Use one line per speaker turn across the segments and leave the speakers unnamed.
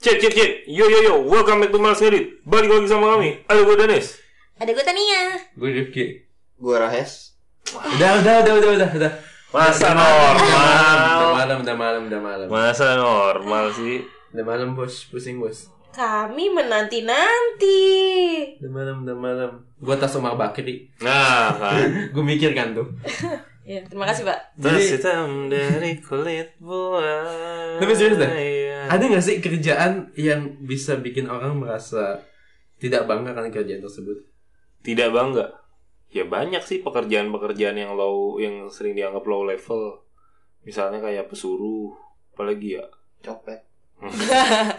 Cek, cek, cek. Yo, yo, yo. Welcome back to Malas Ngedit. Balik lagi sama kami. Ada gue Danes.
Ada gue Tania.
Gue Rifki.
Gue Rahes.
Udah, udah, udah, udah, udah, udah.
Masa
Udah
normal.
malam, udah malam, udah malam.
Masa normal sih.
Udah malam bos, pusing bos.
Kami menanti-nanti.
Udah malam, udah malam. Gue tas Umar Bakri.
Nah, kan.
Gue mikir kan tuh.
Ya, terima kasih, Pak.
Jadi-
Terus hitam dari kulit buah.
Tapi serius dah?
Iya.
Ada gak sih kerjaan yang bisa bikin orang merasa tidak bangga karena kerjaan tersebut?
Tidak bangga. Ya banyak sih pekerjaan-pekerjaan yang low, yang sering dianggap low level. Misalnya kayak pesuruh. Apalagi ya.
Copet.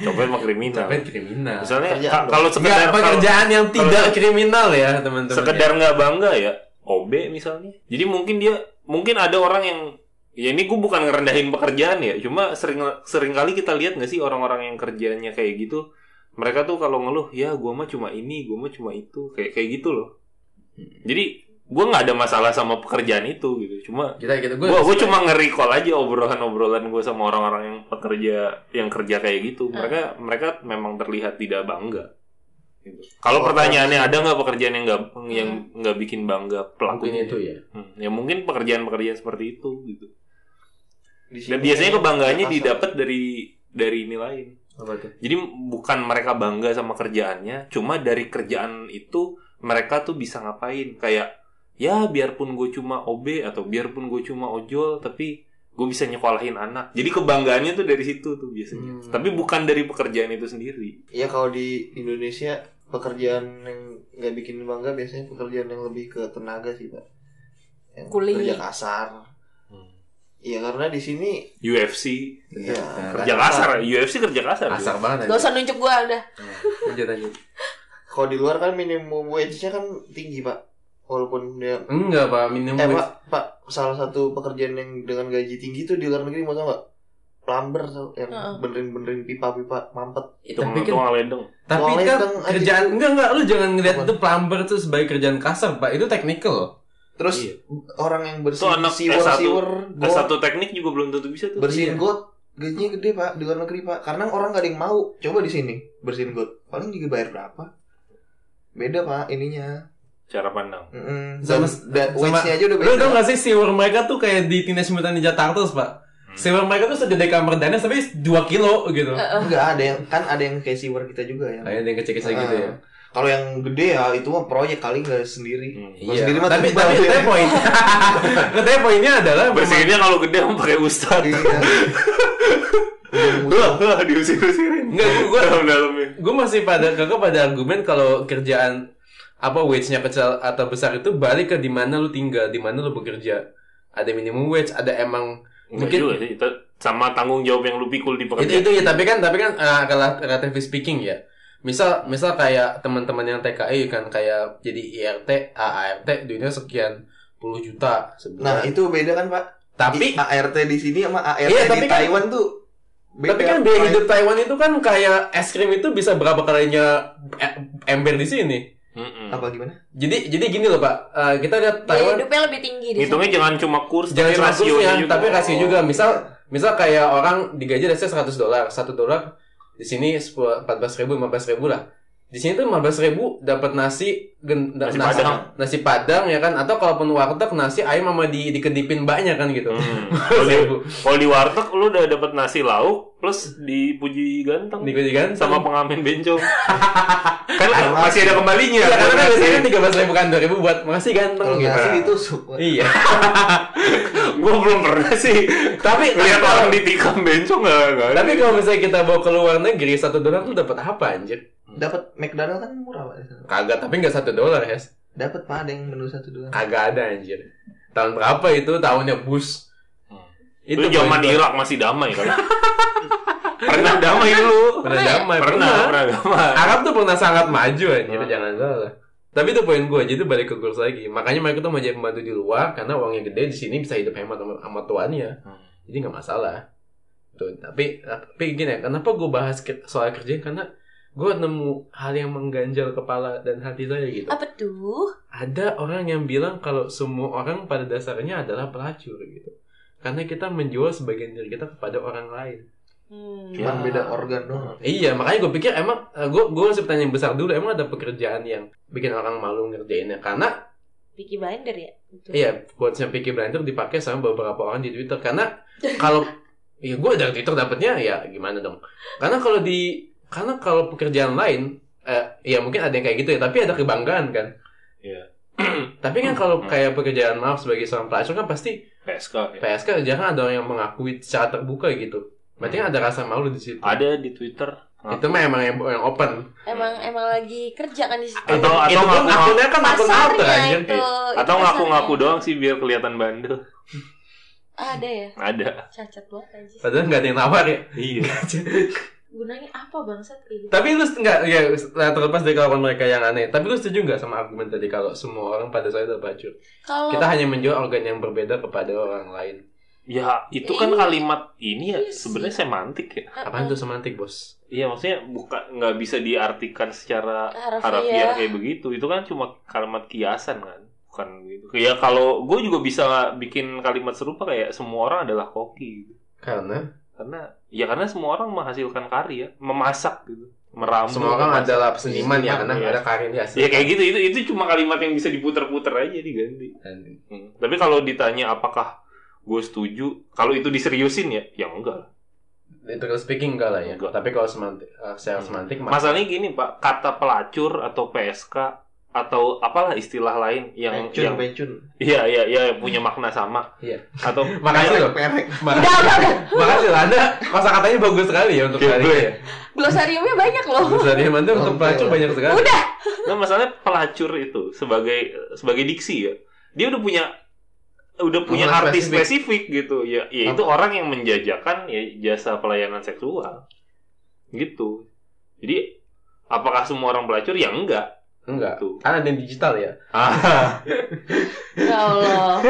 Copet mah kriminal.
Tapi kriminal.
Misalnya
Kerjaan
ka-
dong.
kalau sekedar
Nggak,
kalau-
pekerjaan yang
kalau-
tidak kriminal ya teman-teman.
sekedar nggak bangga ya OB misalnya jadi mungkin dia mungkin ada orang yang ya ini gue bukan ngerendahin pekerjaan ya cuma sering sering kali kita lihat nggak sih orang-orang yang kerjaannya kayak gitu mereka tuh kalau ngeluh ya gue mah cuma ini gue mah cuma itu kayak kayak gitu loh jadi gue nggak ada masalah sama pekerjaan itu gitu cuma
kita kita gue
gue gue cuma nge-recall aja obrolan-obrolan gue sama orang-orang yang pekerja yang kerja kayak gitu mereka mereka memang terlihat tidak bangga Gitu. kalau
Oh,
pertanyaannya ada nggak pekerjaan yang nggak yang nggak bikin bangga
lakuin
pelakunya
itu ya.
Hmm, ya mungkin pekerjaan-pekerjaan seperti itu gitu
Di
dan
sini-
biasanya kebanggaannya
Masa.
didapat dari dari ini lain
Apa tuh?
jadi bukan mereka bangga sama kerjaannya, cuma dari kerjaan itu mereka tuh bisa ngapain. Kayak ya biarpun gue cuma OB atau biarpun gue cuma ojol, tapi gue bisa nyekolahin anak. Jadi kebanggaannya tuh dari situ tuh biasanya.
Hmm.
Tapi bukan dari pekerjaan itu sendiri.
Iya kalau di Indonesia pekerjaan yang nggak bikin bangga biasanya pekerjaan yang lebih ke tenaga sih pak. Yang
Kuli.
Kerja kasar.
Hmm.
Iya karena di sini
UFC
Iya,
ya,
kerja kasar, UFC kerja kasar.
Asar
juga.
banget. Nah,
Gak usah nunjuk gue udah.
Lanjut lanjut.
Kalau di luar kan minimum wage-nya kan tinggi pak. Walaupun dia
Enggak pak minimum.
eh
wage-
pak pak salah satu pekerjaan yang dengan gaji tinggi tuh di luar negeri mau tau nggak? Plumber tau, yang
Heeh.
benerin-benerin pipa-pipa mampet.
Ya,
Tukang,
tapi kan,
tukang ledeng.
tapi
Soalnya
kan
kan ada-
kerjaan enggak enggak lu jangan ngeliat
Apa?
itu plumber tuh sebagai kerjaan kasar pak itu technical loh.
Terus
Iya.
orang yang bersih
Tuh anak
siwer
S1,
siwer
Ke Kan satu teknik juga belum tentu bisa tuh.
Iya.
Iya,
bersihin got gajinya gede pak di luar negeri pak karena orang gak ada yang mau coba di sini bersihin got paling juga bayar berapa beda pak ininya
Cara pandang.
Mm-mm.
Sama-
dan,
sama-
wage nya Eh, aja udah
Lu
beda
tau gak sih siwer mereka tuh kayak di Teenage Mutant Ninja Turtles pak. Siwer mereka tuh segede kamar danes tapi 2 kilo gitu.
enggak ada yang kan ada yang kayak siwer kita juga ya
Kayak ada yang kecil-kecil
Ah.
gitu ya.
kalau yang gede ya itu mah proyek kali nggak sendiri
Hmm.
Kalau sendiri mah
Iya. tapi
tebal
tapi
dia.
katanya poin. katanya poinnya adalah memang-
Bersihinnya kalau gede mau pakai ustad.
Iya. Udah muter.
Wah, diusir-usirin.
Enggak, Iya. gua- gua-
dalam-dalamnya.
gue masih pada kagak pada argumen kalau kerjaan apa wage-nya kecil atau besar itu balik ke di mana lu tinggal, di mana lu bekerja. Ada minimum wage, ada emang
Enggak
Mungkin-
juga sih. Itu sama tanggung jawab yang lu pikul di
itu
pekerjaan.
itu ya tapi kan tapi kan eh, rela- relatively speaking ya. Misal misal kayak teman-teman yang TKI kan kayak jadi IRT, AART duitnya sekian puluh juta
nah
sebulan.
itu beda kan pak
tapi
I- ART di sini sama ART
Iya,
di
tapi kan-
Taiwan tuh beda
Tapi kan biaya hidup Taiwan itu kan kayak es krim itu bisa berapa kalinya e- ember di sini.
Mm-mm.
apa gimana
Jadi jadi gini loh Pak, Eh, kita lihat
Biaya
Taiwan
hidupnya lebih tinggi di sana.
Hitungnya jangan cuma kurs,
jangan
tapi
cuma
rasionya
kursnya,
juga. Oh.
tapi rasio juga. Misal misal kayak orang digaji dari 100 dolar, 1 dolar di sini 10 14 ribu, 15 ribu lah. Di sini tuh 15 ribu dapat nasi gen, da-
Nasi
nasi,
padang.
nasi padang ya kan atau kalaupun warteg nasi ayam sama di dikedipin mbaknya kan gitu.
Hmm. Kalau di- Kalau di warteg lu udah dapet nasi lauk plus dipuji ganteng
Dikedipin kan
sama pengamen bencong. kan masih ada kembalinya.
Iya, karena kan
Buat
biasanya
nasi.
13 ribu kan 2 ribu buat masih
kalau
ganteng gitu.
nggak sih ditusuk Pak.
Iya.
Gua belum pernah sih.
tapi
Lihat
tapi-
orang ditikam bencong nggak nggak ada.
Tapi kalau misalnya kita bawa ke luar negeri satu dolar tuh dapat apa anjir?
dapat McDonald kan murah pak di sana.
Kagak, tapi nggak satu dolar ya.
dapat pak ada yang menu satu
Ya.
doang
Kagak ada anjir. Tahun berapa itu? Tahunnya Bush.
Hmm. itu zaman
baru-
Irak masih damai kan. pernah damai lu.
Pernah
Pernah ya?
damai, pernah.
Pernah, pernah Hmm. damai.
Arab tuh pernah sangat maju anjir,
Pernah.
jangan salah. Tapi itu poin gue, jadi balik ke kurs lagi. Makanya mereka tuh mau jadi pembantu di luar karena uangnya gede di sini bisa hidup hemat sama, sama tuannya.
Hmm.
Jadi nggak masalah. Tuh, tapi tapi gini ya, kenapa gue bahas ke- soal kerja karena gue nemu hal yang mengganjal kepala dan hati saya gitu.
Apa tuh?
ada orang yang bilang kalau semua orang pada dasarnya adalah pelacur gitu karena kita menjual sebagian diri kita kepada orang lain
Hmm.
Ya.
Cuman beda organ doang.
Eh,
Iya, makanya gue pikir emang eh, gue gue masih pertanyaan besar dulu emang ada pekerjaan yang bikin orang malu ngerjainnya karena
Peaky Blinder ya? Betul.
iya quotesnya Peaky Blinder dipakai sama beberapa orang di Twitter karena kalau ya gue dari Twitter dapetnya ya gimana dong karena kalau di karena kalau pekerjaan lain eh, ya mungkin ada yang kayak gitu ya tapi ada kebanggaan kan
Iya.
tapi kan
Hmm.
kalau kayak pekerjaan maaf sebagai seorang pelacur kan pasti
PSK ya.
PSK kan jarang ada orang yang mengakui secara terbuka gitu. Berarti kan ada rasa malu di situ.
Ada di Twitter.
Itu mah emang yang, yang open.
Emang emang lagi kerja kan di situ.
Atau
Eh, itu
atau
pun
ngaku
akunnya kan akun apa anjir.
itu. Oh, itu
atau ngaku-ngaku
pasarnya.
doang sih biar kelihatan bandel.
Ada ya,
Ada.
cacat banget anjir.
Padahal nggak ada yang nawar ya.
Iya.
Gunanya apa bangsat kayak gitu?
Tapi lu nggak ya nah, terlepas dari kelakuan mereka yang aneh. Tapi lu setuju nggak sama argumen tadi kalau semua orang pada saya terpacur?
Kalau
Kita hanya menjual organ yang berbeda kepada orang lain.
Ya, itu
Ya,
kan
iya.
kalimat ini ya
Iya sih.
sebenarnya semantik ya.
eh,
Apaan tuh semantik bos?
Iya, maksudnya bukan nggak bisa diartikan secara
Harfiah.
harfiah kayak begitu. Itu kan cuma kalimat kiasan kan. Bukan gitu. Ya kalau gue juga bisa bikin kalimat serupa kayak semua orang adalah koki gitu.
Karena
Karena ya karena semua orang menghasilkan karya, memasak gitu, meramu.
semua orang
memasak.
adalah seniman ya, karena
Iya.
ada karir di hasil.
Ya kayak gitu itu itu cuma kalimat yang bisa diputer-puter aja diganti.
Dan-
Hmm. Tapi kalau ditanya apakah gue setuju, kalau itu diseriusin ya, ya enggak.
Literal speaking enggak lah ya.
Enggak.
Tapi kalau semantik, eh, secara
Hmm.
semantik mah-
Masalahnya gini pak, kata pelacur atau PSK atau apalah istilah lain yang
Pencun,
yang
pencun.
iya iya iya punya makna sama.
Iya.
Atau
Makasih loh.
Perek.
Udah,
Makasih,
udah, udah.
makasih loh. Anda kosa katanya bagus sekali ya untuk
Oke,
hari
gue.
ini. Oh.
Glosariumnya banyak loh.
Bagus sekali. Emang tuh untuk
Oke.
pelacur banyak sekali.
Udah.
nah masalahnya pelacur itu sebagai sebagai diksi ya, dia udah punya udah punya
Makna
arti
spesifik.
spesifik. gitu ya, ya itu orang yang menjajakan ya jasa pelayanan seksual gitu. Jadi apakah semua orang pelacur? Ya enggak
Enggak.
tuh.
Karena ada yang digital ya.
Ah,
Ya Allah.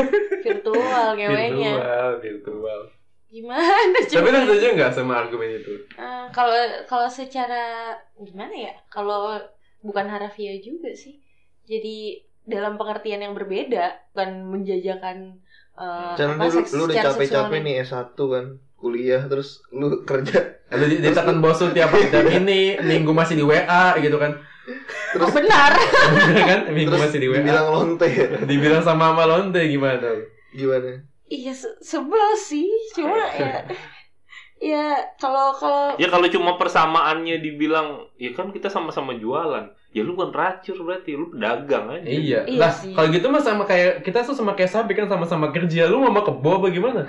Virtual ngewenya.
Virtual, virtual.
Gimana
Tapi kan lu
coba?
setuju nggak sama argumen itu?
Eh, kalau kalau secara gimana ya? Kalau bukan harafiah juga sih. Jadi dalam pengertian yang berbeda bukan menjajakan eh,
Jangan
apa,
lu,
seks-
lu udah
secara
capek-capek
seksual.
nih S1 kan kuliah terus lu kerja
Lu di- ditekan bos lu tiap tiap ini minggu masih di WA gitu kan?
Oh,
terus
benar.
Bener kan? Minggu
terus
masih di WA.
dibilang lonte
Dibilang sama Mama Lonte gimana?
gimana
Iya se- sebel sih, cuma ya ya kalau kalau
Ya kalau cuma persamaannya dibilang, ya kan kita sama-sama jualan. Ya lu bukan racur berarti, lu pedagang aja.
Iya.
Iya
Lah,
sih.
kalau gitu mah sama kayak kita tuh sama kayak sapi kan sama-sama kerja. Lu mau sama kebo apa gimana?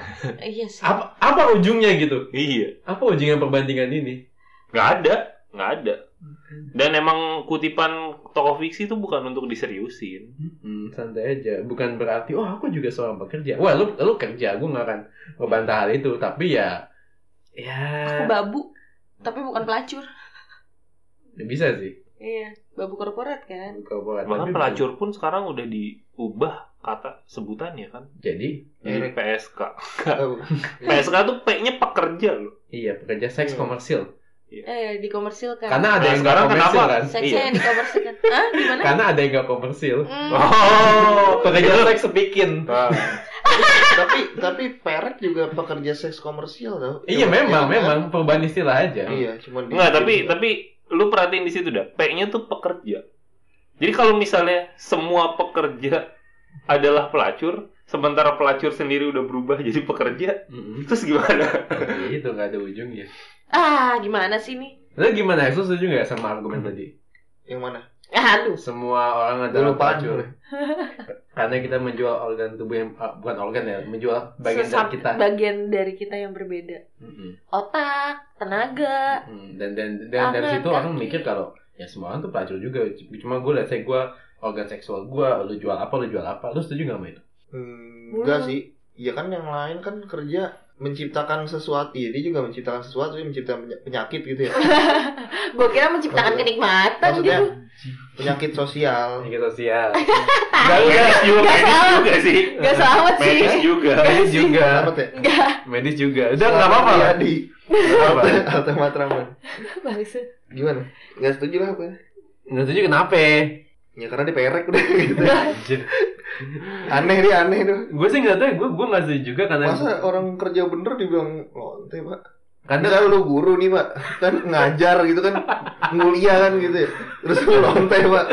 iya sih.
Apa apa ujungnya gitu?
Iya.
Apa ujungnya perbandingan ini?
Nggak ada, nggak ada. Dan emang kutipan tokoh fiksi itu bukan untuk diseriusin.
Hmm, santai aja. Bukan berarti, oh aku juga seorang pekerja. Wah, lu lu kerja, gue nggak akan ngebantah hal itu. Tapi ya,
Aku
ya
babu tapi bukan pelacur.
bisa sih.
Iya, babu korporat kan.
Korporat.
Bahkan
Tapi
pelacur pun sekarang udah diubah kata sebutannya kan.
bukan. Jadi,
Jadi PSK.
Tahu.
PSK tuh P-nya pekerja loh.
iya pekerja seks
Iya.
komersil.
Eh dikomersilkan.
Nah,
Karena ada yang nggak
sekarang
komersil
kenapa?
kan?
seksnya
Iya.
yang dikomersilkan. Hah, gimana?
Karena ada yang nggak komersil.
Hmm.
Oh,
Pekerja seks sepikin.
Nah.
tapi tapi perek juga pekerja seks komersial tau
Iya
Cuma-
memang,
iya,
memang perubahan istilah aja.
kan? iya cuman di-
Enggak, tapi
di-
tapi lu perhatiin di situ dah. P-nya tuh pekerja. Jadi kalau misalnya semua pekerja adalah pelacur, sementara pelacur sendiri udah berubah jadi pekerja,
Mm-mm.
terus gimana?
itu nggak ada ujungnya.
Ah, gimana sih ini?
Lalu gimana? Lu setuju nggak sama argumen tadi?
yang mana
Aduh.
Semua orang
gue
adalah
lupaan
pelacur. karena kita menjual organ tubuh yang ah, bukan organ ya menjual bagian dari
Sesam-
kita
Bagian dari kita yang berbeda.
Mm-mm.
Otak, tenaga.
Mm. dan dan dan dari
Tangan,
situ orang
kaki.
mikir kalau ya semua orang tuh pelacur juga cuma gue lihat saya gue organ seksual gue lu jual apa lu jual apa lu setuju gak sama itu Iya.
Hmm, enggak
Mulu.
sih. Ya kan yang lain kan kerja menciptakan sesuatu. Iya, dia juga menciptakan sesuatu, dia menciptakan peny- penyakit gitu ya.
Gue kira menciptakan
Maksudnya-
kenikmatan
Maksudnya
gitu.
penyakit sosial.
penyakit sosial
Gak medis juga,
Nggak
medis
salah.
juga sih.
Gak selamat sih.
Medis juga.
medis juga Iya.
Selamat ya. Iya,
Gak
medis juga udah nggak apa-apa lah.
Di
Nggak apa
Alta Matraman.
maksud.
Gimana? Enggak setuju lah apa?
nggak setuju kenapa
Ya karena dia perek udah gitu.
Anjir.
Aneh dia aneh tuh.
gue sih nggak tahu gue gue nggak setuju juga karena
Masa orang kerja bener dibilang lonte, Pak?
Karena
Misalnya lu guru nih pak Kan ngajar gitu kan Nguliah kan gitu ya Terus lu lontai pak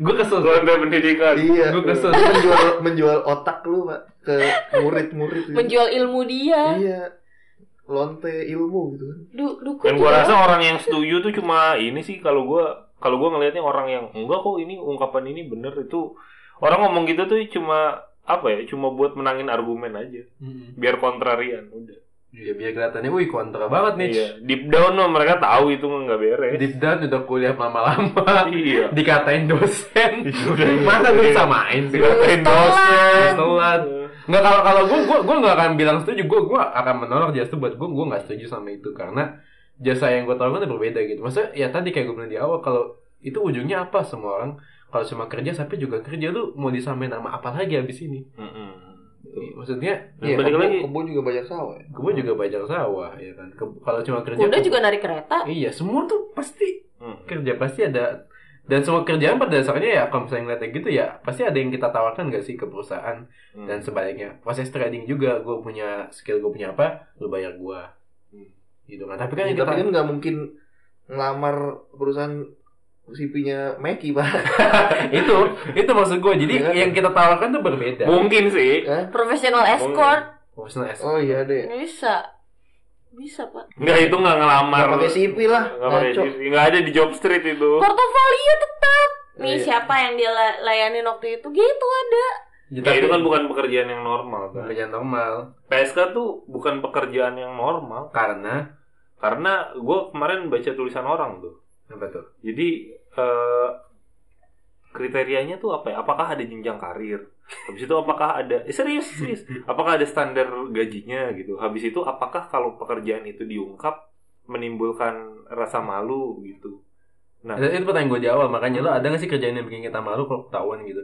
gue kesel
Keluarga pendidikan.
Iya
Gua kesel.
Menjual, menjual otak lu pak Ke murid-murid gitu
menjual ilmu dia
Iya Lonte ilmu gitu kan
du dukun
Dan gue
juga.
rasa orang yang setuju tuh cuma ini sih kalau gue kalau gue ngelihatnya orang yang enggak kok ini ungkapan ini bener itu orang ngomong gitu tuh cuma apa ya cuma buat menangin argumen aja biar kontrarian udah
Iya biar kelihatannya wih kontra banget nih
iya deep down mah mereka tahu itu mah nggak beres
Deep down udah kuliah lama-lama
iya
Dikatain dosen
Iya.
Masa gue samain sih
Dikatain dosen
Telat.
Iya.
Nggak kalau kalau gue gue gue nggak akan bilang setuju gue gue akan menolak jasa buat gue gue nggak setuju sama itu karena jasa yang gue tawarkan itu berbeda gitu. Maksudnya ya tadi kayak gue bilang di awal kalau itu ujungnya apa semua orang kalau cuma kerja sampai juga kerja lu mau disamain sama apa lagi abis ini?
Mm-mm.
Maksudnya
Dan Iya, balik
kebo,
lagi
kebo juga banyak sawah ya.
gue juga bajak sawah ya kan. Ke- Kalau cuma kerja
kuda juga narik kereta
Iya semua tuh pasti
Mm.
kerja pasti ada dan semua kerjaan pada dasarnya ya kalau misalnya ngeliatnya gitu ya pasti ada yang kita tawarkan gak sih ke perusahaan
Mm.
dan sebaliknya proses trading juga gue punya skill gue punya apa lu bayar gue
Hmm.
gitu kan
Iya,
tapi kan
Ya,
kita
Tapi kan nggak mungkin ngelamar perusahaan CP-nya Meki pak
kan-
itu itu maksud gue jadi
Iya kan?
yang kita tawarkan tuh berbeda
mungkin sih
Hah?
profesional escort
professional as-
Oh iya deh
bisa bisa pak
nggak itu nggak ngelamar
Nggak pakai CV lah,
nggak pakai
ngaco.
CV. nggak ada di job street itu
portofolio tetap nih
Iya.
siapa yang dia la- layanin waktu itu gitu ada
Ya,
Ya,
tapi
itu kan bukan pekerjaan yang normal kan.
pekerjaan normal
PSK tuh bukan pekerjaan yang normal
karena
karena gue kemarin baca tulisan orang tuh
apa tuh
jadi eh, kriterianya tuh apa ya apakah ada jenjang karir habis itu apakah ada eh, serius serius apakah ada standar gajinya gitu habis itu apakah kalau pekerjaan itu diungkap menimbulkan rasa malu gitu Nah.
itu, itu pertanyaan gue di awal makanya lo ada gak sih kerjaan yang bikin kita malu kalau ketahuan gitu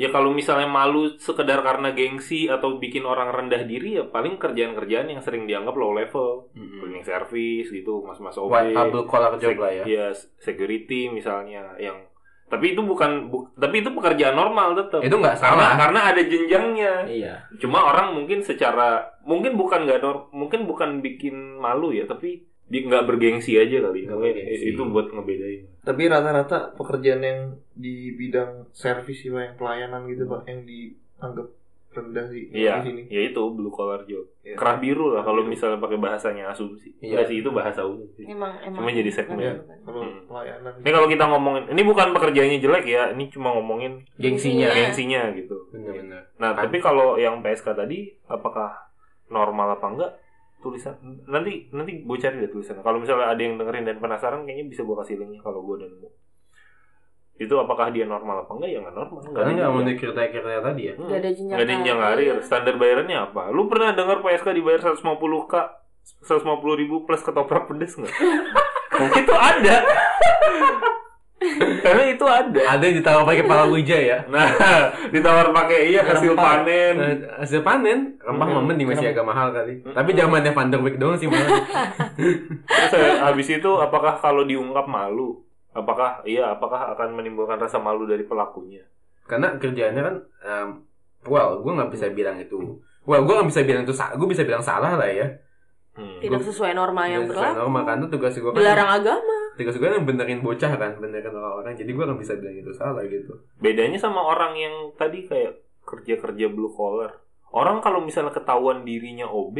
ya kalau misalnya malu sekedar karena gengsi atau bikin orang rendah diri ya paling kerjaan-kerjaan yang sering dianggap low level
mm
cleaning service gitu mas-mas OB
white collar collar job
Sek-
lah ya
Iya, s- security misalnya yang tapi itu bukan bu- tapi itu pekerjaan normal tetap.
itu nggak
karena
salah
karena ada jenjangnya.
iya
Cuma orang mungkin secara mungkin bukan nggak nor- mungkin bukan bikin malu ya, tapi di nggak bergengsi aja kali.
Nggak
Mungkin
bergengsi.
Itu buat ngebedain.
Tapi rata-rata pekerjaan yang di bidang servis sih Pak, yang pelayanan gitu pak, yang dianggap rendah sih
Iya,
di sini.
ya itu blue collar job.
Iya.
Kerah biru lah kalau
Biru.
misalnya pakai bahasanya asumsi.
Iya.
Nggak sih itu bahasa umum. sih.
emang emang
Cuma jadi segmen.
Kalau
Hmm.
pelayanan.
Ini kalau kita ngomongin, ini bukan pekerjaannya jelek ya, ini cuma ngomongin
gengsinya
Iya.
gengsinya gitu.
bener-bener
Nah,
Kan.
tapi kalau yang PSK tadi apakah normal apa enggak? Tulisan nanti nanti gue cari deh tulisan. Kalau misalnya ada yang dengerin dan penasaran kayaknya bisa gue kasih linknya kalau gue udah nemu. Itu apakah dia normal apa enggak? Ya enggak normal.
karena nggak mau
ada
di kriteria tadi ya
Hmm.
Gak ada jenjang
Nggak ada jenjang karir. Standar bayarannya apa? Lu pernah dengar PSK dibayar 150k 150 ribu plus ketoprak pedes nggak? itu ada. Karena itu ada.
ada yang ditawar pakai palawija ya
Nah, ditawar pakai iya hasil
Rempah.
panen.
Eh, hasil panen rempah
Hmm.
memending masih
Kenapa?
agak mahal kali
Hmm.
tapi zamannya Van der Beek doang sih mahal
Terus eh, habis itu apakah kalau diungkap malu? Apakah iya apakah akan menimbulkan rasa malu dari pelakunya?
karena kerjaannya kan em, well gue nggak bisa bilang itu well gue nggak bisa bilang itu gue bisa bilang salah lah ya
Hmm.
Tidak sesuai norma yang
Dan sesuai
berlaku.
norma karena tugas gue kan
Dilarang agama.
tugas gue kan benerin bocah kan benerin orang-orang jadi gue nggak bisa bilang itu salah gitu
Bedanya sama orang yang tadi kayak kerja-kerja blue collar. Orang kalau misalnya ketahuan dirinya OB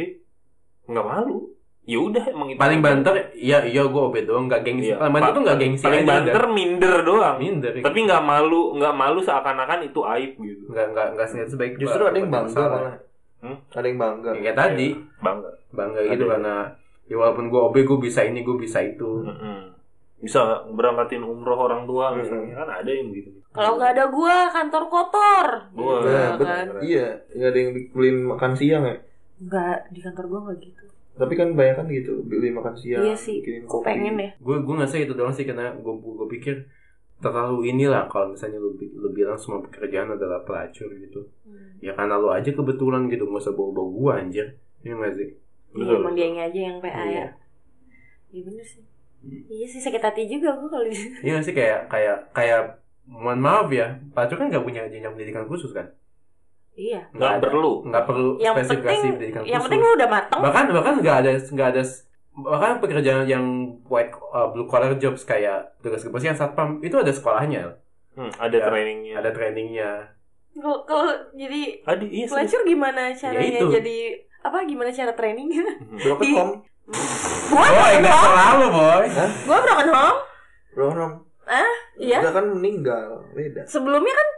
nggak malu. Ya udah emang itu.
paling banter iya iya gue obet doang nggak gengsi
Iya.
paling banter tuh nggak gengsi
Paling
aja
banter minder doang.
udah. minder iya.
Tapi nggak malu, nggak malu seakan-akan itu aib gitu.
nggak nggak nggak sengaja sebaik
Justru ada yang bangga
Salah.
malah.
Hmm?
Ada yang bangga.
Ya, kayak tadi
Iya, bangga.
bangga gitu
Ada.
karena ya walaupun gue OB gue bisa ini gue bisa itu
Mm-mm. Bisa berangkatin umroh orang tua
Mm-mm.
misalnya kan ada yang gitu.
Kalau nggak ada gua, kantor kotor.
Wah,
Iya
Nah, bet-
kan?
Iya, nggak ada yang beliin makan siang ya.
Nggak di kantor gua nggak gitu.
Tapi kan banyak kan gitu, beli makan siang,
Iya sih,
bikinin
Kok
kopi.
pengen ya?
gue gue nggak itu doang sih karena gue gue pikir terlalu inilah kalau misalnya lu, bi- lu bilang semua pekerjaan adalah pelacur gitu ya karena lu aja kebetulan gitu nggak usah bawa bawa gue anjir Iya nggak sih
Iya,
Betul.
emang dianya aja yang PA
Iya.
ya. Iya bener sih. Iya sih sakit hati juga gua kalau di situ.
Iya nggak sih kayak kayak kayak mohon maaf ya pelacur kan nggak punya jenjang pendidikan khusus kan
Iya.
Nggak
ada-
perlu.
nggak perlu
Yang
spesifikasi
penting
pendidikan
yang
khusus
penting lu udah mateng.
bahkan bahkan nggak ada nggak ada bahkan pekerjaan yang white uh, blue collar jobs kayak tugas kebersihan satpam itu ada sekolahnya,
Hmm, ada
Ya,
trainingnya.
ada trainingnya.
Kalau kalau jadi
Aduh, iya sih.
pelacur gimana caranya
itu.
jadi apa gimana cara trainingnya?
Hmm.
Broken
Di-
home.
gua
Boy,
broken
nggak
home,
selalu boy.
gua broken home,
Broken home.
iya.
Udah kan meninggal. Beda.
Sebelumnya kan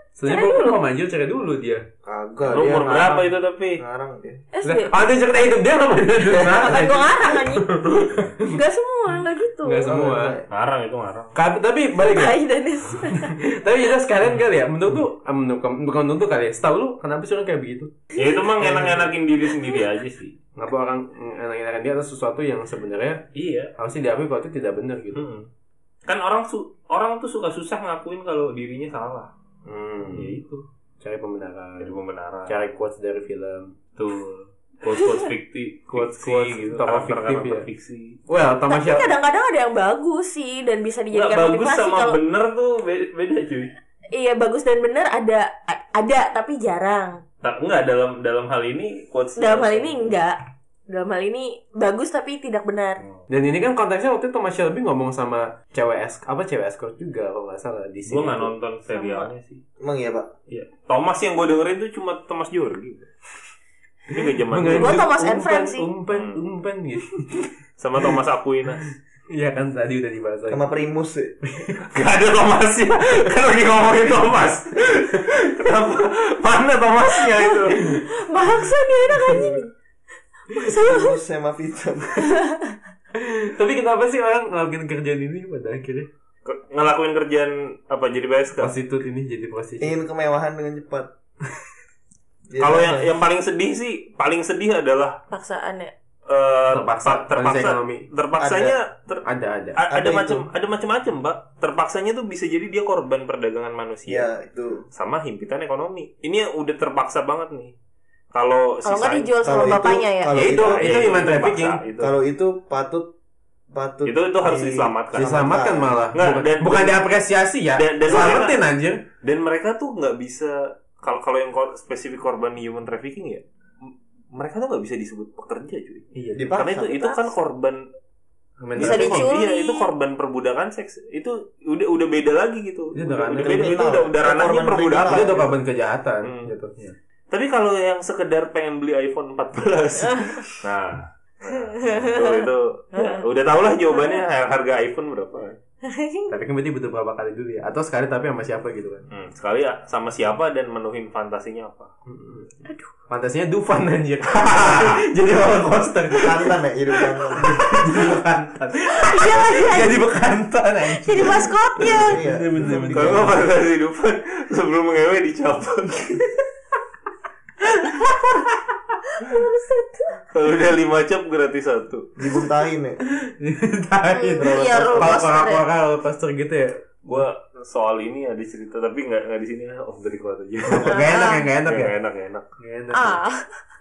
Cerai
Sebenarnya gue
dulu.
mau manjil cerai dulu dia.
Kagak.
Lu umur
Iya,
dia ngarang.
berapa itu tapi?
Ngarang dia.
SD.
Ah, dia cerita hidup dia apa?
Bukan gua ngarang anjing. Enggak semua, enggak gitu.
Ya,
Nggak semua.
Oh, iya.
Ngarang itu ngarang.
Ka- tapi balik ya.
Tai Danis.
Tapi jelas kalian kali ya. Menurut lu, ah, menurut kamu- bukan menurut lu kali ya. Setahu lu kenapa sih orang kayak begitu?
Ya itu mah enak-enakin diri sendiri aja sih.
Kenapa orang enak-enakan dia atas sesuatu yang sebenarnya
Iya.
harusnya diakui kalau itu tidak benar gitu.
Hmm. Kan orang su orang tuh suka susah ngakuin kalau dirinya salah. Ya
Hmm.
itu. Dari
Cari pembenaran.
pembenaran.
Cari quotes dari film.
Tuh. Quotes-quotes fikti,
Quotes-
fiksi
quotes
gitu,
tokoh fiktif
karakter-karakter
ya.
fiksi.
Iya,
Well, tambah
Tapi kan
siapa?
kadang-kadang ada yang bagus sih dan bisa
Nggak
dijadikan
bagus
motivasi
sama
kalau
bener tuh be- beda cuy.
iya bagus dan benar ada ada tapi jarang.
Tak enggak dalam dalam hal ini quotes
Dalam hal ini enggak. Dalam hal ini bagus tapi tidak benar.
Hmm.
Dan ini kan konteksnya waktu itu Mas Shelby ngomong sama cewek es apa cewek escort juga kalau nggak salah di sini.
Gue nggak nonton serialnya sih.
Emang iya, Pak.
Thomas yang gue dengerin tuh cuma Thomas Jorgi. Ini gak zaman
Mengenai
dulu.
Gua Thomas and
umpan,
Friends sih.
Umpan,
Hmm.
umpan gitu.
sama Thomas Aquina.
Iya kan tadi udah dibahas lagi.
Sama primus ya? sih.
Gak ada
ya.
Thomasnya. Kan lagi ngomongin Thomas. Kenapa? Mana Thomasnya itu?
Maksa dia enak anjing. Maksa
Primus sama Vita.
Tapi kenapa sih orang ngelakuin kerjaan ini pada akhirnya?
Ke- Ngelakuin kerjaan apa jadi BSK?
Prostitut ini jadi prostitut.
Iya.
Ingin kemewahan dengan cepat. Iya, Jadi
Kalau
apa?
yang yang paling sedih sih, paling sedih adalah
paksaan ya.
eh,
Terpaksa,
terpa- terpaksa,
kondisi ekonomi.
terpaksanya ter-
Ada ada.
a- ada
Ada itu.
macam ada macam-macam, Pak. Terpaksanya tuh bisa jadi dia korban perdagangan manusia.
Iya, itu.
sama himpitan ekonomi. Ini udah terpaksa banget nih. Kalau
Kalau nggak
sisa
dijual sama
Kalau itu-
bapaknya ya.
kalau
Ya itu,
itu-
itu
ya,
human
itu
trafficking.
terpaksa, itu.
Kalau itu patut patut
Itu- itu harus
di-
diselamatkan.
Diselamatkan malah.
Nggak,
bukan,
dan-
bukan diapresiasi ya.
Dan- dan-
Selamatin anjir.
Dan mereka tuh nggak bisa kalau kalau yang kor- spesifik korban human trafficking ya, m- mereka tuh nggak bisa disebut pekerja cuy.
Iya.
Dipaksa.
Karena itu itu kan korban
Bisa
itu-
diculik.
Iya, itu korban perbudakan seks. Itu udah udah beda lagi gitu.
Itu
udah,
ranah
udah beda itu
kriminal.
udah udah
Itu
ranahnya
korban
perbudakan.
Itu
kriminal.
udah korban kejahatan gitu. Iya.
Hmm.
jatuhnya.
Tapi kalau yang sekedar pengen beli iPhone 14. nah. Nah, itu, itu ya, udah tau lah jawabannya harga iPhone berapa
Tapi kan berarti butuh berapa kali dulu ya? Atau sekali tapi sama siapa gitu kan?
hmm, sekali ya, sama siapa dan menuhin fantasinya apa hmm.
Aduh. Fantasinya Dufan anjir. jadi roller coaster.
Kantan ya hidup kantan.
jadi bekantan.
Iya lagi anjing.
jadi bekantan anjir.
Jadi maskotnya.
Iya.
Bener-bener.
kalau nggak fantasi hidupan sebelum mengewe dicopot kalau udah lima cap gratis satu
Dibuntahin ya.
Tahin.
Iya, roller
Kalau
coaster ya.
orang-orang roller coaster gitu ya.
gua soal ini ada cerita tapi nggak nggak di sini lah off the record aja
Gak enak ya, gak enak ya.
Nggak enak nggak enak
Gak enak.
Ah,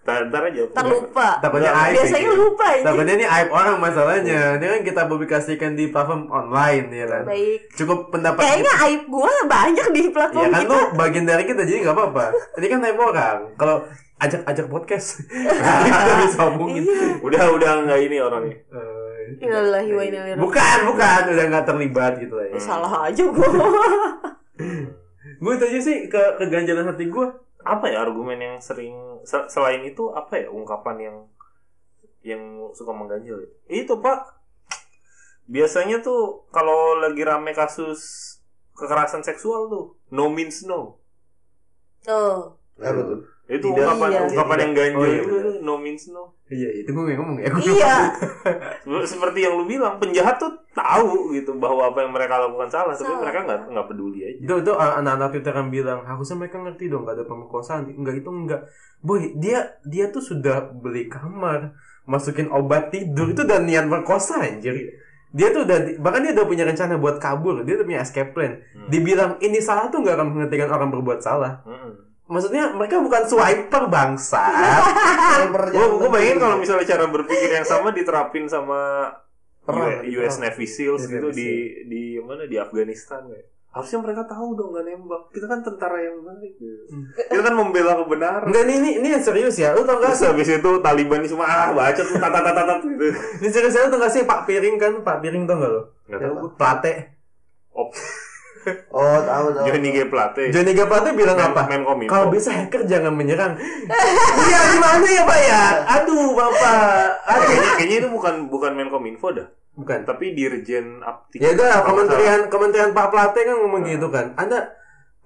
ntar, ntar aja
tak lupa.
Takutnya aib.
Biasanya
ya.
lupa ini.
Takutnya ini aib orang masalahnya. Ini kan kita publikasikan di platform online ya kan.
Baik.
Cukup pendapat
Kayaknya aib gua banyak di
kita. Ya
Iya
platform
kan
kita.
tuh bagian dari kita jadi nggak apa-apa. Ini kan aib orang. Kalau ajak-ajak podcast kita bisa omongin.
udah udah nggak ini orangnya
Eh,
Iya. Innalillahi wa inna ilaihi
Bukan, bukan, udah nggak terlibat gitu lah ya.
raji'un. Salah aja gua.
Gue itu aja sih ke keganjalan hati gue.
apa ya argumen yang sering se- selain itu apa ya ungkapan yang yang suka mengganjal ya? itu pak biasanya tuh kalau lagi rame kasus kekerasan seksual tuh no means no
Oh.
Apa tuh?
itu
Tidak.
ungkapan
Iya.
ungkapan yang ganjil
Oh, iya,
itu
benar.
tuh, no means no
Iya, itu gue yang ngomong ya. Gua
Iya,
Sep- seperti yang lu bilang penjahat tuh tahu gitu bahwa apa yang mereka lakukan salah tapi
Salah.
mereka nggak nggak peduli aja
itu itu uh, anak-anak Twitter kan bilang harusnya mereka ngerti dong gak ada pemerkosaan enggak itu enggak boy dia dia tuh sudah beli kamar masukin obat tidur itu udah niat merkosa anjir dia tuh udah di- bahkan dia udah punya rencana buat kabur dia udah punya escape plan
Hmm.
dibilang ini salah tuh nggak akan menghentikan orang berbuat salah
Mm-mm.
maksudnya mereka bukan swiper bangsa Iya,
Gua gua bayangin kalau misalnya cara berpikir yang sama diterapin sama
Perang,
U- US
perang.
Navy Seals
US
gitu
Navy
di di mana di Afghanistan ya. harusnya mereka tahu dong nggak nembak kita kan tentara yang baik
Hmm.
kita kan membela kebenaran
Enggak, ini, ini, ini yang serius ya. Lu tau gak
terus habis itu Taliban ini semua ah baca tuh tat tat tat tat gitu
Ini serius ya, lu tau gak sih Pak Piring kan? Pak Piring tau gak lo?
nggak
Ya,
tahu
gua Plate.
Oh, tahu tahu.
Johnny G Plate
Johnny G. Plate bilang apa?
Menkominfo.
Kalau bisa hacker jangan menyerang. Iya gimana ya Pak ya? Aduh Bapak. Aduh.
kayaknya, kayaknya itu bukan bukan Menkominfo dah
Bukan.
tapi Dirjen Apti
Ya udah kementerian kementerian Pak Plate kan ngomong gitu kan. Anda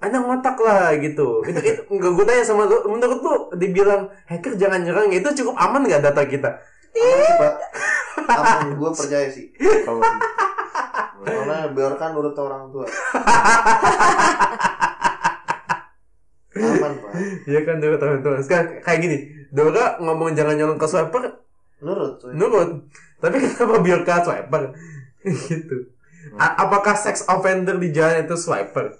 anda ngotak lah gitu. Itu, itu nggak gue tanya sama lu. Menurut lu dibilang hacker jangan nyerang itu cukup aman nggak data kita?
Apa gue percaya sih.
Kalau-
Karena biarkan urut orang tua. Aman, Pak.
Iya kan Dora teman-teman. Sekarang kayak gini. Dora ngomong jangan nyolong ke swiper,
Nurut. cuy.
nurut. Tapi kenapa biarkan swiper? gitu. A- apakah sex offender di jalan itu swiper?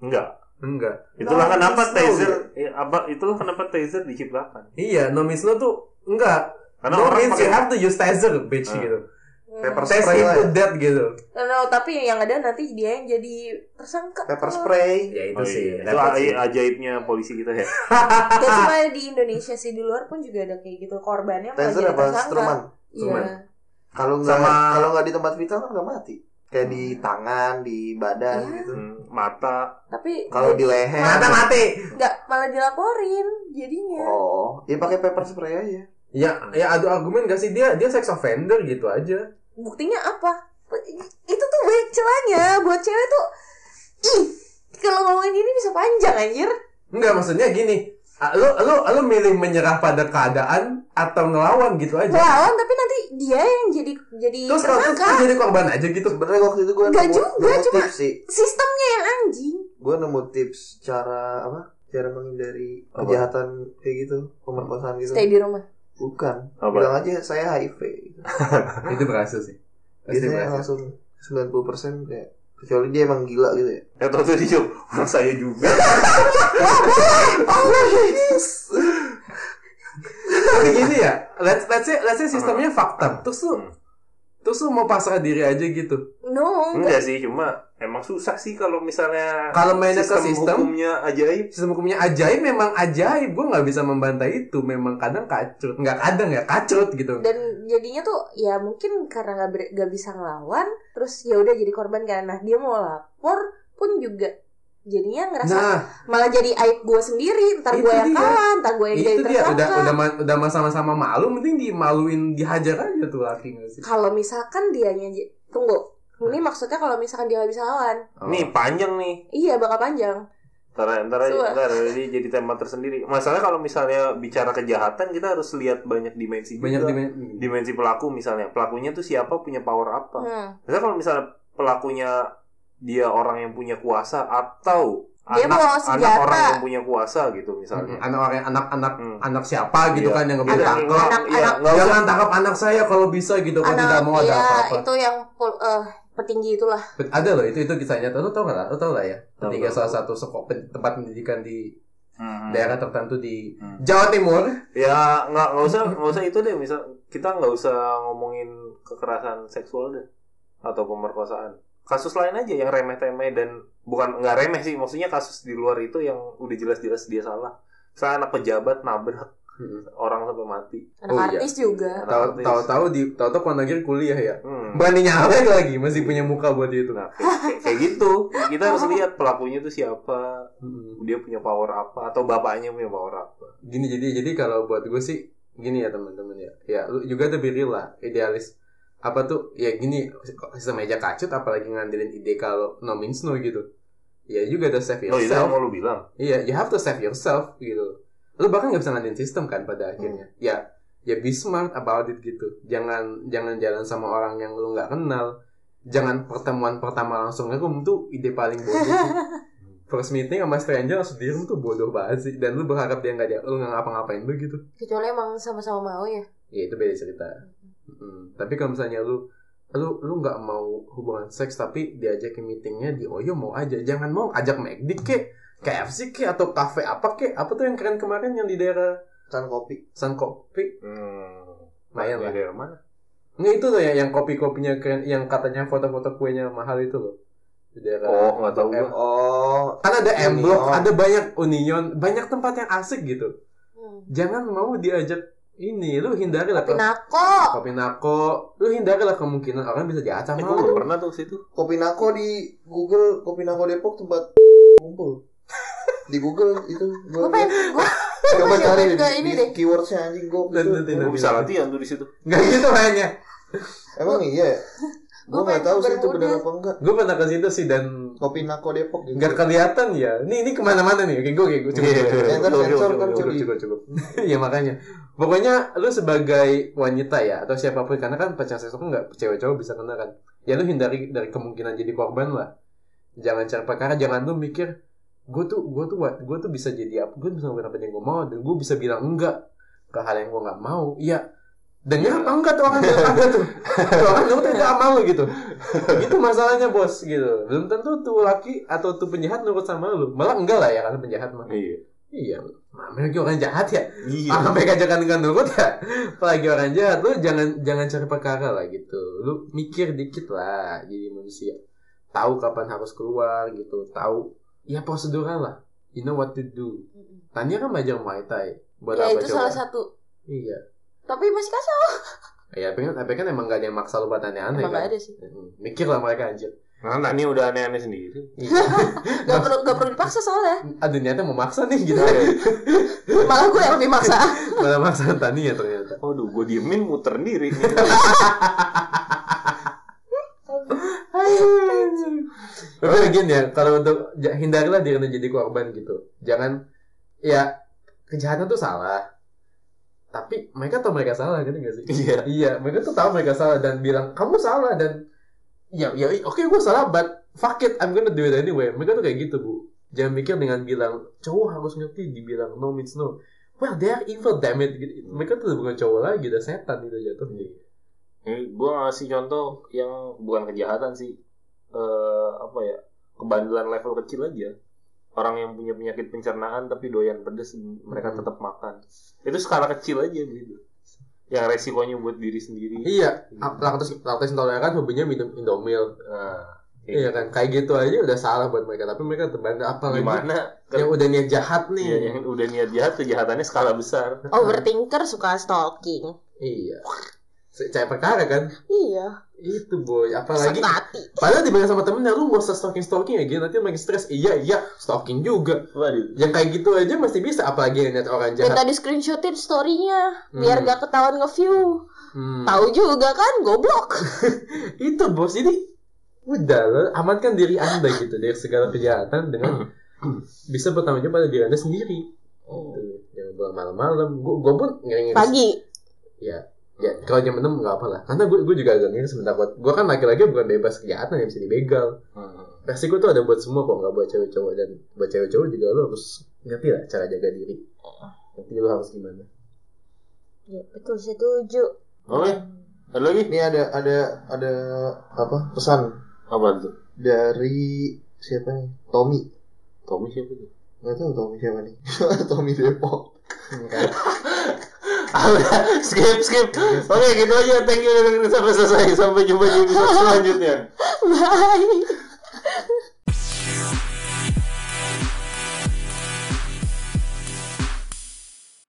enggak
Enggak.
itulah
Nah,
kenapa
ya.
terus
taser eh, apa itulah kenapa taser diciptakan
Iya, no means no tuh enggak.
karena
no
orang
means you
pakai
have to use taser, bitch
Ah.
gitu.
Pepper
Taser
spray lah.
itu dead gitu.
Hmm. No, no, tapi yang ada nanti dia yang jadi tersangka.
Pepper spray.
Ya itu
Oh,
sih.
iya. itu
repot sih.
a- ajaibnya polisi kita ya
Ah.
Gak cuma di Indonesia sih, di luar pun juga ada kayak gitu. Korbannya malah
Taser
jadi
apa?
tersangka.
Struman.
Iya.
Kalau nggak
Sama-
kalau nggak di tempat vital kan nggak mati. Kayak di tangan, di badan
Iya.
gitu.
Hmm, mata
Tapi eh,
Kalau di
Mata
leher.
mati.
nggak malah dilaporin jadinya.
Oh, ya pakai pepper spray aja.
Ya, ya adu argumen gak sih dia dia sex offender gitu aja.
Buktinya apa? Itu tuh banyak celahnya buat cewek tuh. Ih, kalau ngomongin ini bisa panjang anjir.
Enggak maksudnya gini. ah, Lu lu lu milih menyerah pada keadaan atau ngelawan gitu aja.
Lawan tapi nanti dia yang jadi jadi
Terus kalau terus
tersangka.
jadi korban aja gitu.
Sebenarnya waktu itu gue
Nggak
nemu,
juga,
nemu
cuma-
tips sih.
Sistemnya yang anjing.
Gue nemu tips cara apa? Cara menghindari
Apa?
kejahatan kayak gitu, pemerkosaan gitu.
Stay di rumah.
Bukan.
Apa?
Bilang aja saya HIV. gitu.
Itu berhasil sih. Pasti
ya?
Biasanya
berhasil.
langsung 90% kayak kecuali dia emang gila gitu ya.
ya tahu tuh dijawab orang saya juga
Tapi gini ya, let's let's say, let's say sistemnya fakta. Terus lu
Hmm.
terus lu mau pasrah diri aja gitu.
No, enggak.
enggak sih cuma emang susah sih kalau misalnya
Kalau mainnya ke sistem,
hukumnya ajaib
sistem hukumnya ajaib memang ajaib gue nggak bisa membantai itu memang kadang kacrut nggak kadang ya kacrut gitu
dan jadinya tuh ya mungkin karena nggak ber- nggak bisa ngelawan terus ya udah jadi korban kan nah dia mau lapor pun juga jadinya ngerasa
nah
malah jadi aib gue sendiri ntar
Itu
gue yang
dia.
kalah ntar gue yang jadi
itu dia
tersangka
udah udah ma- udah sama-sama malu mending dimaluin dihajar aja tuh laki nggak sih
kalau misalkan dia nyanyi tunggu ini
Nah.
maksudnya kalau misalkan dia nggak bisa lawan
Oh.
nih panjang nih
iya bakal panjang
Ntar, ntar, aja,
Coba.
ntar ini jadi tema tersendiri. Masalahnya kalau misalnya bicara kejahatan kita harus lihat banyak dimensi juga.
banyak di
dimensi pelaku misalnya. Pelakunya tuh siapa punya power
Oh.
apa.
Hmm.
Misalnya kalau misalnya pelakunya dia orang yang punya kuasa atau
Dia bawa
anak
senjata.
anak orang yang punya kuasa gitu misalnya.
anak orang anak-anak
Hmm.
anak siapa gitu
Iya.
kan yang nggak
Iya,
boleh
Anak-
tangkap
anak-
iya,
anak-
nggak usah.
jangan tangkap anak saya kalau bisa gitu kalau tidak mau ada
iya,
apa-apa
itu yang pol- eh, petinggi itulah
Bet- ada loh itu itu kisah nyata lo tau nggak lah lo tau lah ya
Tahu,
ketiga
tahu.
salah satu sekolah tempat pendidikan di
Hmm.
daerah tertentu di
Hmm.
Jawa Timur
Ya nggak nggak usah nggak usah itu deh. Misal kita nggak usah ngomongin kekerasan seksual deh atau pemerkosaan. Kasus lain aja yang remeh-temeh dan bukan nggak remeh sih. Maksudnya kasus di luar itu yang udah jelas-jelas dia salah. Misalnya anak pejabat nabrak orang sampai mati.
anak
Oh, iya.
artis juga
Anak
tahu
artis.
tahu tahu di tahu tahu Konagir kuliah ya
Hmm.
berani nyalek lagi masih punya muka buat itu
Nah, kayak, kayak- kayak gitu. Kita harus lihat pelakunya itu siapa, dia punya power apa atau bapaknya punya power apa.
gini jadi jadi kalau buat gue sih gini ya teman-teman ya ya lu juga tuh biril lah idealis apa tuh ya gini sistem aja kacut apalagi ngandelin ide kalau no means no gitu ya juga tuh save
Loh, itu Oh, iya, yang
yourself
mau lu bilang.
iya you have to save yourself gitu lu bahkan nggak bisa ngandelin sistem kan pada akhirnya ya ya be smart about it gitu jangan jangan jalan sama orang yang lu nggak kenal jangan pertemuan pertama langsung ngerum tuh ide paling bodoh sih. first meeting sama stranger langsung di room tuh bodoh banget sih dan lu berharap dia nggak dia lu nggak ngapa-ngapain lu gitu
kecuali emang sama-sama mau ya
ya itu beda cerita Mm, tapi kalau misalnya lu lu lu nggak mau hubungan seks tapi diajak ke meetingnya di Oyo mau aja jangan mau ajak McD ke KFC ke atau kafe apa ke apa tuh yang keren kemarin yang di daerah
Kan kopi.
Sun Kopi
Hmm.
lumayan
Ini
lah
Daerah mana?
nggak itu tuh ya yang kopi kopinya keren yang katanya foto-foto kuenya mahal itu loh Di daerah
Oh, nggak tahu
M
gua.
oh kan ada M Block
Union.
ada banyak Union banyak tempat yang asik gitu
Hmm.
jangan mau diajak ini lu hindari lah
Tapi nako.
kopi nako lu hindari lah kemungkinan orang bisa diacak
Eh,
sama
gua nggak
lu.
pernah tuh situ.
Kopinako di Google Kopinako Depok tempat kumpul di Google itu
Gue
gua
pengen gue
coba
pengen
cari
lihat
di,
ke ini
di
deh.
keywordsnya anjing gua
dan
gitu.
nanti
Gua
nanti
bisa latihan tuh di situ.
nggak gitu kayaknya
emang iya
Gua
gua
pengen
nggak tahu sih itu
bermuda.
benar apa enggak
gue pernah ke situ sih dan
Kopinako Depok gitu
nggak kelihatan ya ini ini kemana-mana nih oke gue oke gue cukup
Iya,
cukup,
iya,
cukup.
Ntar
Oke, oke,
sensor
oke,
kan
oke,
cukup
jadi
cukup cukup ya makanya pokoknya lu sebagai wanita ya atau siapapun karena kan pacar seks aku nggak cewek cowok bisa kena kan ya lu hindari dari kemungkinan jadi korban lah jangan cari perkara jangan lu mikir gue tuh gue tuh gue tuh bisa jadi apa gue bisa ngelakuin apa yang gue mau dan gue bisa bilang enggak ke hal yang gue nggak mau iya dengar apa enggak tuh orang bilang enggak tuh tuh orang bilang tuh enggak mau gitu itu masalahnya bos gitu belum tentu tuh laki atau tuh penjahat nurut sama lu malah enggak lah ya karena penjahat mah
Iya.
Iya, namanya juga orang jahat ya.
Iya.
Orang mereka jangan dengan nurut ya. Apalagi orang jahat, lu jangan jangan cari perkara lah gitu. Lu mikir dikit lah jadi manusia. Tahu kapan harus keluar gitu. Tahu ya prosedural lah. You know what to do.
Mm-mm.
Tanya kan belajar Muay Thai. Buat
Ya
apa
itu
coba?
salah satu.
Iya.
Tapi masih kacau.
Ya, tapi kan, tapi kan emang gak ada yang maksa lu buat aneh-aneh
Emang
kan.
nggak ada sih.
Mm, Mikir lah mereka anjir.
Nah, Nani udah aneh-aneh sendiri.
Gak perlu gak perlu dipaksa soalnya.
Aduh niatnya mau maksa nih gitu.
Malah gue yang lebih maksa.
Malah maksa Tani ya ternyata.
Waduh, gue Oh, diemin muter sendiri.
Tapi again ya, kalau untuk ja- hindarilah diri untuk jadi korban gitu. Jangan ya kejahatan tuh salah. Tapi mereka tahu mereka salah gitu gak sih?
Iya.
Iya, mereka tuh tahu mereka salah dan bilang kamu salah dan ya ya oke gue salah but fuck it I'm gonna do it anyway. Mereka tuh kayak gitu bu. Jangan mikir dengan bilang cowok harus ngerti dibilang no means no. Well they are evil damn it. Gitu. Mereka tuh bukan cowok lagi, udah setan gitu jatuhnya.
gue ngasih contoh yang bukan kejahatan sih. Eh apa ya? Kebandelan level kecil aja. Orang yang punya penyakit pencernaan tapi doyan pedes, mereka
Hmm.
tetap makan. Itu skala kecil aja gitu. Yang resikonya buat diri sendiri.
Iya, laktos laktos intoleran hobinya minum indomil.
Nah, kayak
Iya kan, kayak gitu aja udah salah buat mereka, tapi mereka terbandel apa lagi?
Gimana?
Yang udah niat jahat nih.
Iya, yang udah niat jahat kejahatannya skala besar.
Overthinker suka stalking.
Iya. Caya perkara kan?
Iya.
Itu boy,
Sakit
apalagi
hati.
padahal dibilang sama temennya lu gak usah stalking stalking ya gitu nanti makin stres. Iya iya, stalking juga.
Waduh.
Yang kayak gitu aja masih bisa, apalagi yang lihat orang jahat.
Minta di screenshotin storynya biar
Hmm.
gak ketahuan nge-view.
Hmm.
Tahu juga kan goblok.
Itu bos, jadi udah lah, amankan diri anda gitu dari segala kejahatan dengan
Hmm.
bisa bertanggung jawab pada diri anda sendiri. Gitu. Jangan pulang malam-malam. Gue pun ngeri-ngeri
Pagi.
ya kalau jam enam nggak apa lah karena gue gue juga agak ngiri sebentar buat gue kan laki-laki bukan bebas kejahatan yang bisa dibegal
Hmm.
resiko tuh ada buat semua kok nggak buat cewek cowok dan buat cewek cowok juga lo harus ngerti lah cara jaga diri ngerti lo harus gimana
Ya, betul setuju.
Oke, ada lagi?
ini ada ada ada apa pesan
Apa tuh?
dari siapa nih Tommy
Tommy siapa tuh?
nggak tahu Tommy siapa nih Tommy Depok
skip, skip. Oke, gitu aja. Thank you udah dengerin sampai selesai. Sampai jumpa di episode selanjutnya.
Bye.